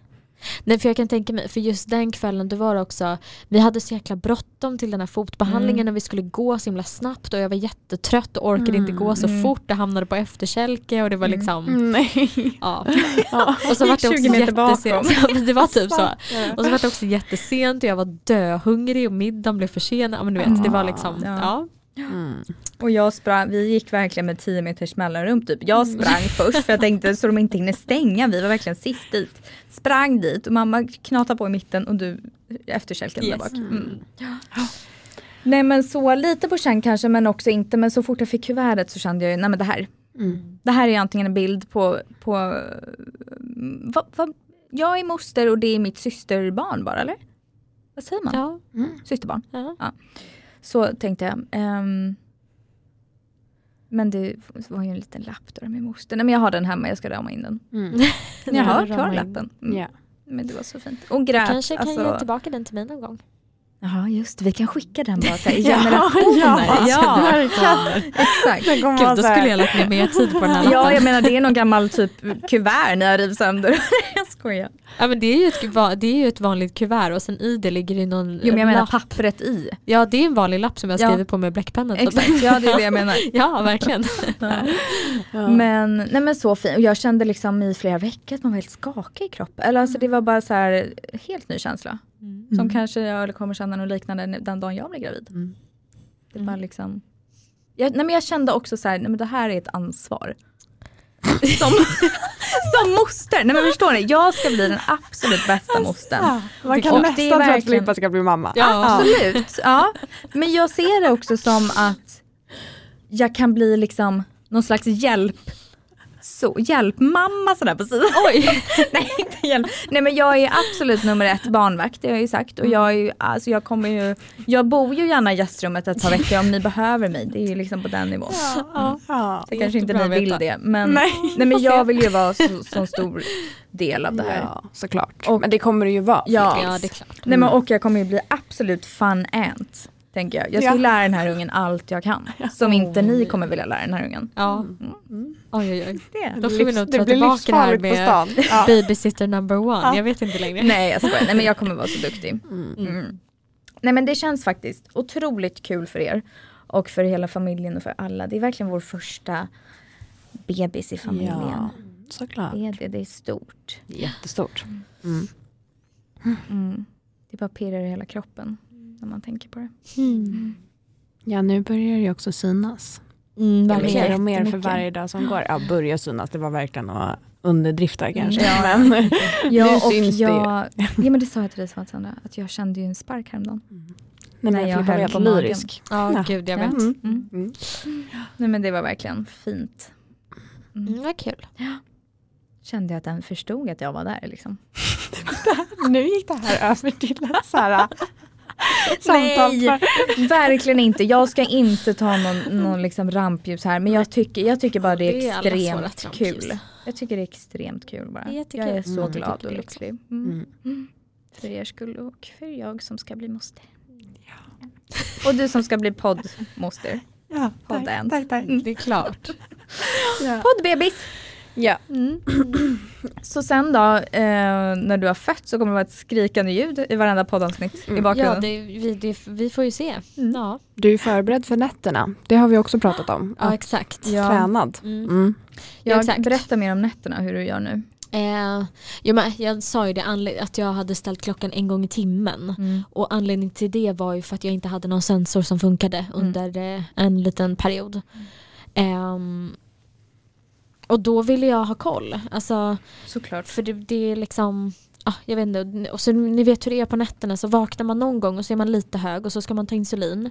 Nej för jag kan tänka mig, för just den kvällen det var det också, vi hade så jäkla bråttom till den här fotbehandlingen och vi skulle gå så himla snabbt och jag var jättetrött och orkade inte gå så fort och hamnade på efterkälke och det var liksom
Mm. Nej.
Ja. Och så var det
20
också
meter
jättesent.
bakom.
Ja, men det var typ så. Och så var det också jättesent och jag var döhungrig och middagen blev försenad. Ja, Men du vet, det var liksom,
Ja.
ja.
Och jag sprang, vi gick verkligen med 10 meters mellanrum typ. Jag sprang först för jag tänkte så de inte hinner stänga, vi var verkligen sist dit. Sprang dit och mamma knatade på i mitten och du i efterkälken där
Yes.
bak. Mm. Ja. Nej men så lite på känn kanske men också inte men så fort jag fick kuvertet så kände jag ju, nej men det här. Det här är ju antingen en bild på, på mm, vad, vad, jag är moster och det är mitt systerbarn bara eller? Vad säger man?
ja.
Systerbarn.
ja.
Så tänkte jag. ehm, men det var ju en liten lapp där med moster. Nej men jag har den hemma, jag ska rama in den. Men Jag har
Ja,
kvar
rama in.
lappen. Mm.
Mm. Ja.
Men det var så fint. Och grät.
Kanske kan
alltså.
jag ge tillbaka den till mig någon gång.
Ja just det, vi kan skicka den bara så här, i
Ja,
generationer.
ja.
exakt.
Det kommer
Gud,
vara
då
så här-
skulle jag lagt ner mer tid på den här
Ja
lappen.
jag menar det är någon gammal typ kuvert ni har rivit sönder. jag skojar.
Ja, men det, är ju ett, kuva- det är ju ett vanligt kuvert och sen i det ligger det någon
Jo men jag menar
lapp.
pappret i.
Ja det är en vanlig lapp som jag
Ja.
skriver på med bläckpennan. typ.
Exakt, ja det är det jag menar.
Ja verkligen.
Men, nej men så fint. Och jag kände liksom i flera veckor att man var helt skakig i kroppen. Eller alltså det
Mm.
var bara så här helt ny känsla. Som kanske jag kommer känna något liknande den dagen jag blir gravid.
Mm.
Det var liksom. Jag, nej men jag kände också så här, nej men det här är ett ansvar. Som, som moster. Nej men förstår ni, jag ska bli den absolut bästa mostern.
Alltså, Man
Och
kan
det är
nästan tro att
verkligen-
Filippa ska bli mamma.
Ja.
Absolut. Ja. Men jag ser det också som att jag kan bli liksom någon slags hjälp. Så, hjälpmamma sådär på sidan. Oj! Nej, inte hjälp. Nej men jag är absolut nummer ett barnvakt, det har jag ju sagt. Och jag, är ju, alltså jag, kommer ju, jag bor ju gärna i gästrummet ett par veckor om ni behöver mig. Det är ju liksom på den nivån.
Ja.
Så kanske inte
jättebra
ni
att
vill
veta.
det. Men, nej,
Nej,
men jag vill ju vara så, så stor del av det här.
Ja, såklart.
Och-
men det kommer det ju vara.
Ja.
Ja, det är klart.
Nej men
Mm.
och jag kommer ju bli absolut fun ant. Tänker jag. Jag ska
Ja. Oh.
lära den här ungen allt jag kan. Som inte ni kommer vilja lära den här ungen.
Ja. Oj, oj, oj.
Mm. Det.
Då får vi nog
Mm. det
ta
blir
tillbaka det här
livsfarligt på
med
stan. Ja.
babysitter number one. Jag vet inte längre.
Nej jag skojar. Nej men jag kommer vara så duktig. Mm. Nej men det känns faktiskt otroligt kul för er. Och för hela familjen och för alla. Det är verkligen vår första bebis i familjen.
Ja, såklart.
Det är det, det är stort.
Jättestort.
Mm. Det bara pirrar i hela kroppen när man tänker på det.
Ja, nu börjar det ju också synas.
Mm, verkligen.
Mer och mer för
jättemycket.
varje dag som går. Ja, börja synas, det var verkligen att underdrifta kanske.
Ja.
Men,
Ja,
Nu
och
syns det ju.
jag, ja men det sa jag till dig Sandra, att jag kände ju en spark häromdagen.
nej,
Nej,
men
jag
Filippa
höll
var
på magen.
lyrisk.
Ja,
Ja.
gud jag
Ja.
vet.
Mm.
Mm.
Mm.
Nej men det var verkligen fint.
Mm, vad kul.
Kände jag att den förstod att jag var där liksom.
Nu gick det här över till ett så här samtal. för-
verkligen inte. Jag ska inte ta någon, någon liksom rampljus här men jag tycker, jag tycker bara det är
Det är alla svåra
extremt
trampljus.
kul. Jag tycker det är extremt kul bara.
Det är jättekul.
jag är så
Mm.
glad
Det
och
är
lycklig. Mm. Mm. För er skull och för jag som ska bli moster. Och du som ska bli poddmoster.
Ja,
Hold
tack,
hand.
tack, tack.
Det är klart.
Poddbebis!
Ja.
Mm. Så sen då, eh, när du har fött så kommer det vara ett skrikande ljud i varenda poddavsnitt
Mm.
i bakgrunden.
Ja, det, vi, det, vi får ju se.
Mm.
Ja,
Du är förberedd för nätterna. Det har vi också pratat om.
ja
Att
exakt.
Ja.
Tränad.
Mm.
Mm.
Ja,
jag
exakt.
berättar mer om nätterna, hur du gör nu.
Eh, jo, men jag sa ju det anled- att jag hade ställt klockan en gång i timmen. Och anledningen till det var ju för att jag inte hade någon sensor som funkade under eh, en liten period. Ehm, och då ville jag ha koll. Alltså,
Såklart.
för det, det är liksom, ah, jag vet inte, och så, ni vet hur det är på nätterna så vaknar man någon gång och så är man lite hög och så ska man ta insulin.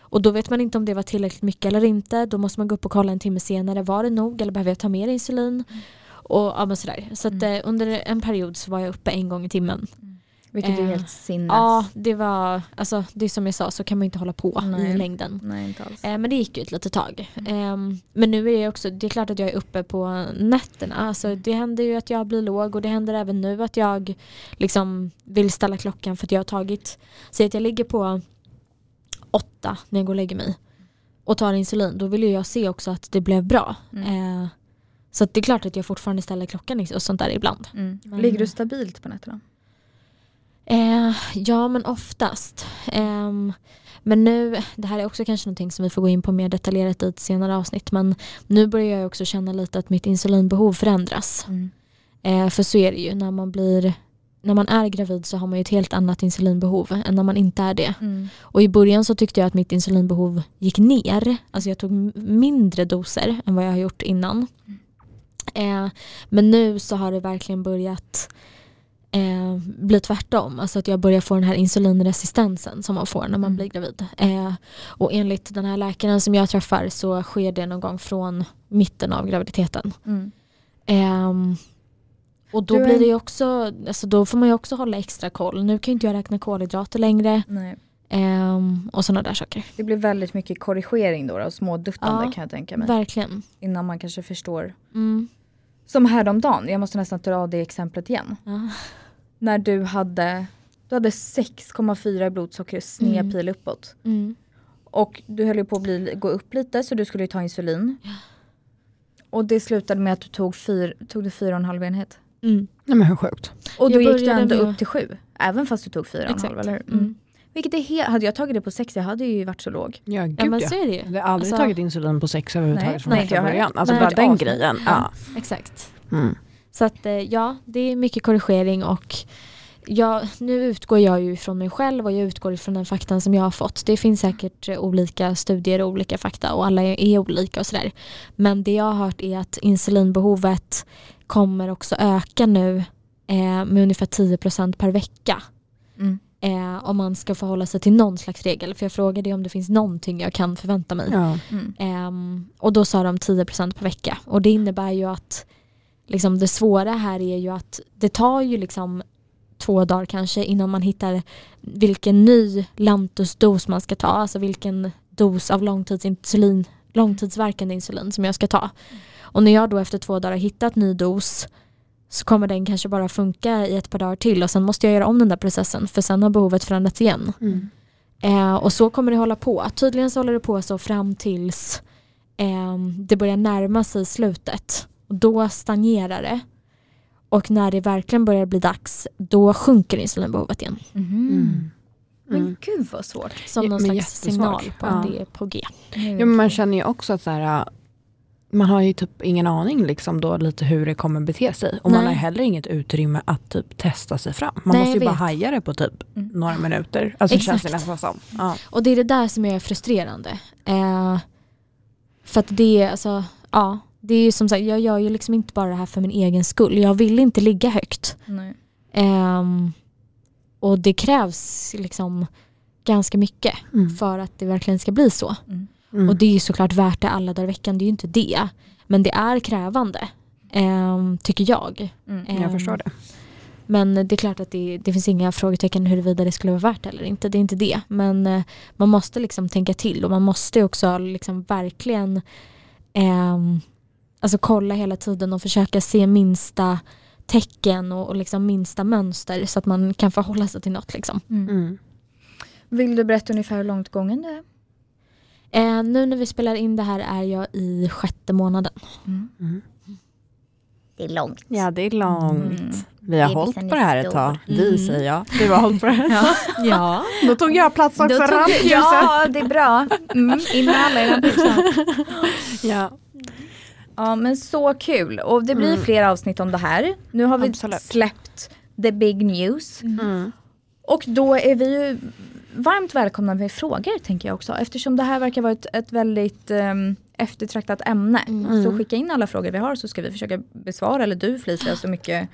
Och då vet man inte om det var tillräckligt mycket eller inte. Då måste man gå upp och kolla en timme senare, var det nog eller behöver jag ta mer insulin? Och ja, men sådär. Så att, eh, under en period så var jag uppe en gång i timmen.
Vilket är
Eh,
helt sinnes.
Ja, det var, alltså det är som jag sa så kan man ju inte hålla på
Nej.
i längden.
Nej, inte alls.
Eh, men det gick ju ett litet tag. Ehm, men nu är jag också, det är klart att jag är uppe på nätterna. Alltså, det händer ju att jag blir låg och det händer även nu att jag liksom vill ställa klockan för att jag har tagit, säg att jag ligger på åtta när jag går och lägger mig och tar insulin, då vill ju jag se också att det blev bra. Eh, så att det är klart att jag fortfarande ställer klockan och sånt där ibland.
Mm. Ligger du stabilt på nätterna?
Eh, ja men oftast. Ehm, men nu, det här är också kanske någonting som vi får gå in på mer detaljerat i ett senare avsnitt men nu börjar jag också känna lite att mitt insulinbehov förändras.
Mm.
Eh, för så är det ju när man blir när man är gravid så har man ju ett helt annat insulinbehov än när man inte är det. Och i början så tyckte jag att mitt insulinbehov gick ner. Alltså jag tog m- mindre doser än vad jag har gjort innan. Eh, men nu så har det verkligen börjat eh, bli tvärtom. Alltså att jag börjar få den här insulinresistensen som man får
Mm.
när man blir gravid. Eh, och enligt den här läkaren som jag träffar så sker det någon gång från mitten av graviditeten.
Mm.
Ehm, och då
Du är-
blir det ju också, alltså då får man ju också hålla extra koll. Nu kan ju inte jag räkna kolhydrater längre
Nej.
ehm, och sådana där saker.
Det blir väldigt mycket korrigering då, då och småduttande
Ja,
kan jag tänka mig.
Verkligen.
Innan man kanske förstår.
Mm.
Som häromdagen, jag måste nästan dra det exemplet igen.
Ja.
När du hade, du hade 6,4 i blodsocker, sned
Mm.
pil uppåt.
Mm.
Och du höll ju på att bli, gå upp lite så du skulle ju ta insulin. Och det slutade med att du tog, fyr, tog du fyra och en halv enhet.
Mm.
Nej men hur sjukt.
Och då
Jag
gick du
började
ändå
med-
upp till sju. Även fast du tog fyra och en halv,
Exakt.
eller hur? Mm.
Mm.
Vilket är helt, hade jag tagit det på sex, jag hade ju varit så låg.
Ja gud
Ja men
ja. Mm.
så är det ju.
Jag har aldrig
Alltså-
tagit insulin på sex
Nej,
överhuvudtaget från
nej,
första
jag har-
början. Alltså
nej,
bara
det är
den
avsnitt.
grejen. Ja.
Exakt.
Mm.
Så att eh, ja, det är mycket korrigering och jag, nu utgår jag ju från mig själv och jag utgår från den faktan som jag har fått. Det finns säkert eh, olika studier och olika fakta och alla är, är olika och sådär. Men det jag har hört är att insulinbehovet kommer också öka nu eh, med ungefär 10% per vecka.
Mm.
Eh, om man ska förhålla sig till någon slags regel. För jag frågade ju om det finns någonting jag kan förvänta mig.
Ja.
Mm.
Ehm, och då sa de 10% per vecka. Och det innebär ju att liksom, det svåra här är ju att det tar ju liksom två dagar kanske innan man hittar vilken ny lantusdos man ska ta. Alltså vilken dos av långtidsinsulin, långtidsverkande insulin som jag ska ta. Och när jag då efter två dagar har hittat ny dos så kommer den kanske bara funka i ett par dagar till och sen måste jag göra om den där processen för sen har behovet förändrats igen.
Mm.
Eh, och så kommer det hålla på. Tydligen så håller det på så fram tills eh, det börjar närma sig slutet. Och då stagnerar det. Och när det verkligen börjar bli dags, då sjunker insulinbehovet igen.
Mhm.
Mm.
Men gud vad svårt.
Som
Ja,
någon
men
slags
jättesvårt.
signal på om
Ja.
det är på G.
Mm.
Ja, men man känner ju också att så här, äh, man har ju typ ingen aning liksom då lite hur det kommer bete sig. Och man
Nej.
har heller inget utrymme att typ testa sig fram. Man
Nej,
måste ju bara
jag vet.
haja det på typ några minuter. Alltså känns det
Exakt.
nästan som. Ja.
Och det är det där som är frustrerande. Eh, för att det är alltså, ja. Det är ju som sagt, jag gör ju liksom inte bara det här för min egen skull. Jag vill inte ligga högt.
Nej.
Ehm, och det krävs liksom ganska mycket
Mm.
för att det verkligen ska bli så.
Mm.
Och det är ju såklart värt det alla dagar i veckan, det är ju inte det. Men det är krävande, ehm, tycker jag.
Mm,
jag förstår det.
Men det är klart att det, det finns inga frågetecken huruvida det skulle vara värt det eller inte. Det är inte det. Men eh, man måste liksom tänka till och man måste också liksom verkligen ehm, alltså kolla hela tiden och försöka se minsta tecken och, och liksom minsta mönster så att man kan förhålla sig till något. Liksom.
Mm.
Vill du berätta ungefär hur långt gången det är?
Eh, nu när vi spelar in det här är jag i sjätte månaden.
Det är långt.
Ja, det är långt. Vi har
Bebisen
hållit
är
på det här ett
stor.
tag. Vi säger jag. Du har hållit på det här ett tag.
Ja.
Då tog jag plats också. rampljuset.
ja, det är bra. Mm, in med alla i rampljuset.
Ja.
Ja, men så kul. Och det blir fler avsnitt om det här. Nu har vi
Mm. Absolut.
släppt the big news.
Mm.
Och då är vi ju varmt välkomna med frågor tänker jag också. Eftersom det här verkar vara ett, ett väldigt ehm, eftertraktat ämne. Så skicka in alla frågor vi har så ska vi försöka besvara, eller du Felicia, så mycket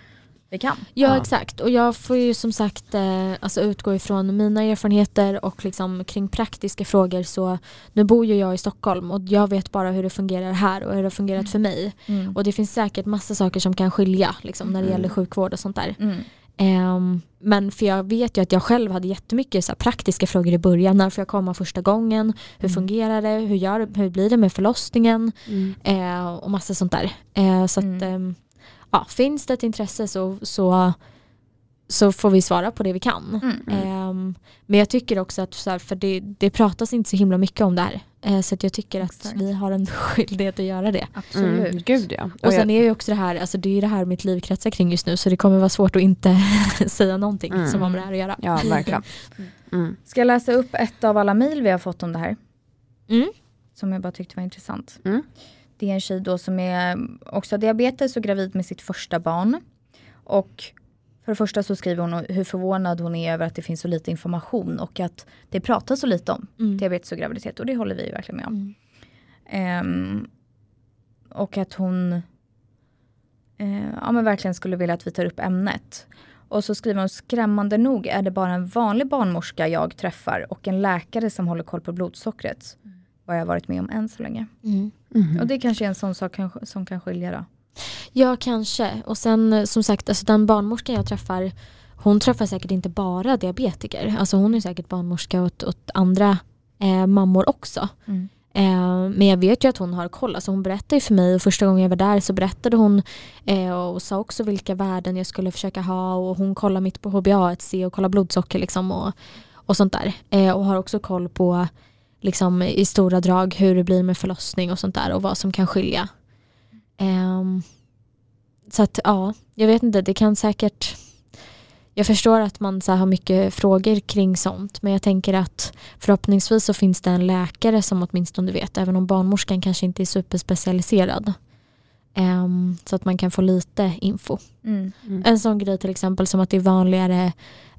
vi kan.
Ja, exakt och jag får ju som sagt eh, alltså utgå ifrån mina erfarenheter och liksom kring praktiska frågor så nu bor ju jag i Stockholm och jag vet bara hur det fungerar här och hur det har fungerat för mig
Mm.
och det finns säkert massa saker som kan skilja liksom, när det gäller sjukvård och sånt där.
Mm.
Ehm, men för jag vet ju att jag själv hade jättemycket så här, praktiska frågor i början. När får jag komma första gången? Hur fungerar det? Hur, gör, hur blir det med förlossningen? Eh, och massa sånt där. Eh, så att, ehm, ja, finns det ett intresse så, så, så får vi svara på det vi kan. Ehm, men jag tycker också att så här, för det, det pratas inte så himla mycket om det här. Eh, så att jag tycker att
Exakt.
vi har en skyldighet att göra det.
Absolut.
Mm. Gud ja.
Och sen är ju också det här, alltså det är ju det här mitt liv kretsar kring just nu så det kommer vara svårt att inte säga någonting
Mm.
som har med det här att göra.
Ja, verkligen. Mm.
Ska jag läsa upp ett av alla mejl vi har fått om det här?
Mm.
Som jag bara tyckte var intressant.
Mm.
Det är en tjej då som är också har diabetes och gravid med sitt första barn. Och för det första så skriver hon hur förvånad hon är över att det finns så lite information och att det pratas så lite om
Mm.
diabetes och graviditet och det håller vi ju verkligen med om.
Mm.
Ehm, och att hon eh, ja, men verkligen skulle vilja att vi tar upp ämnet. Och så skriver hon skrämmande nog är det bara en vanlig barnmorska jag träffar och en läkare som håller koll på blodsockret.
Mm.
Vad jag varit med om än så länge.
Mm.
Och det kanske är en sån sak kan, som kan skilja då.
Ja, kanske. Och sen eh, som sagt, alltså den barnmorskan jag träffar, hon träffar säkert inte bara diabetiker. Alltså hon är säkert barnmorska åt, åt andra eh, mammor också.
Mm.
Eh, men jag vet ju att hon har koll. Alltså hon berättade ju för mig och första gången jag var där så berättade hon eh, och sa också vilka värden jag skulle försöka ha och hon kollar mitt på HbA1c och kollar blodsocker liksom och, och sånt där. Eh, och har också koll på liksom i stora drag hur det blir med förlossning och sånt där och vad som kan skilja. Ehm, så att ja, jag vet inte, det kan säkert jag förstår att man så här, har mycket frågor kring sånt men jag tänker att förhoppningsvis så finns det en läkare som åtminstone vet även om barnmorskan kanske inte är superspecialiserad Ehm, så att man kan få lite info.
Mm.
En sån grej till exempel som att det är vanligare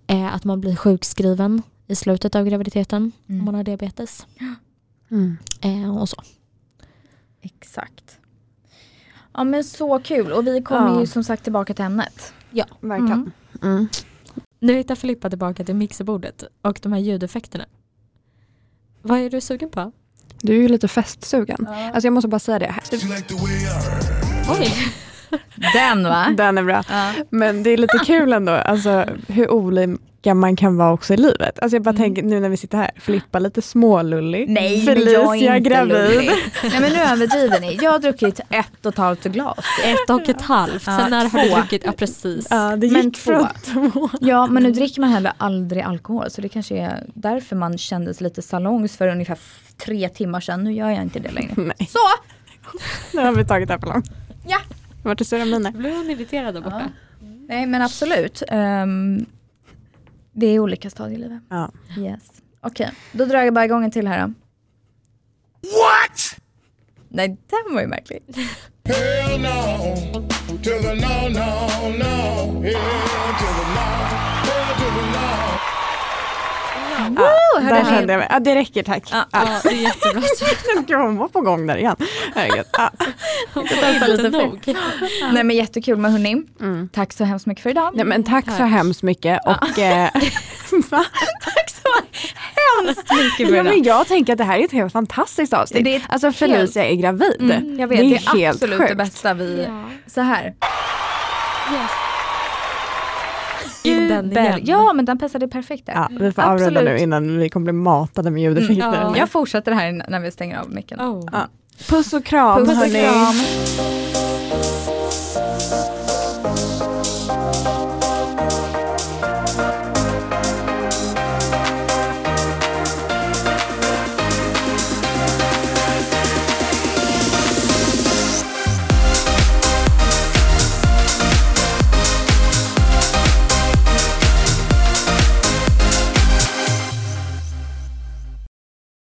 eh, att man blir sjukskriven i slutet av graviditeten
Mm.
om man har diabetes.
Mm.
Eh, och så.
Exakt. Ja men så kul och vi kommer
Ja.
ju som sagt tillbaka till ämnet.
Verkligen. Mm.
Nu hittar Filippa tillbaka till mixerbordet och de här ljudeffekterna. Vad är du sugen på?
Du är ju lite festsugen. Alltså jag måste bara säga det.
Oj!
Den va?
Den är bra.
Ja.
Men det är lite kul ändå, alltså, hur olika man kan vara också i livet. Alltså jag bara tänker nu när vi sitter här, Filippa lite smålullig.
Nej men
Felicia
jag är inte
gravid.
lullig. Nej men nu överdriver ni. Jag har druckit ett och ett halvt glas.
Ett och ett halvt. Sen
Ja,
när har du
två.
druckit? Ja precis.
Ja, det gick
Men
från två.
Ja men nu dricker man heller aldrig alkohol så det kanske är därför man kändes lite salongs för ungefär f- tre timmar sedan. Nu gör jag inte det längre.
Nej,
Så!
nu har vi tagit det här för långt.
Ja.
Vart är sura miner?
Blev hon irriterad där borta?
Nej men absolut. Ehm, det är olika stadier i livet.
Ja.
Yes. Okej, då drar jag bara igång en till här då. What? Nej den var ju märklig.
Hell no, to the no, no, no. Hell to the no, hell to the no.
Woo, hörde
Där
ni?
kände jag mig. Ja, det räcker tack.
Ja.
Ja, det är jättebra.
Nu ska hon vara på gång där igen. Herregud. Ja.
Hon får inte
lite fler.
nog.
Nej men jättekul med hörni. Tack så hemskt mycket för idag.
Mm. Nej, men tack, så hemskt mycket. Och, eh, va?
Tack så hemskt mycket för
ja,
idag.
men jag tänker att det här är ett helt fantastiskt avsnitt.
Det är ett
alltså Felicia är gravid.
Jag vet, Mm, det är, absolut det bästa vi...
Ja.
Så här.
In den
Bell.
igen.
Ja men den passade perfekt där.
Ja, vi får
Absolut.
avrunda nu innan vi kommer bli matade med ljudeffekter.
Mm, ja.
Jag fortsätter här när vi stänger av micken.
Oh.
Puss och kram
Puss och
hörni.
kram.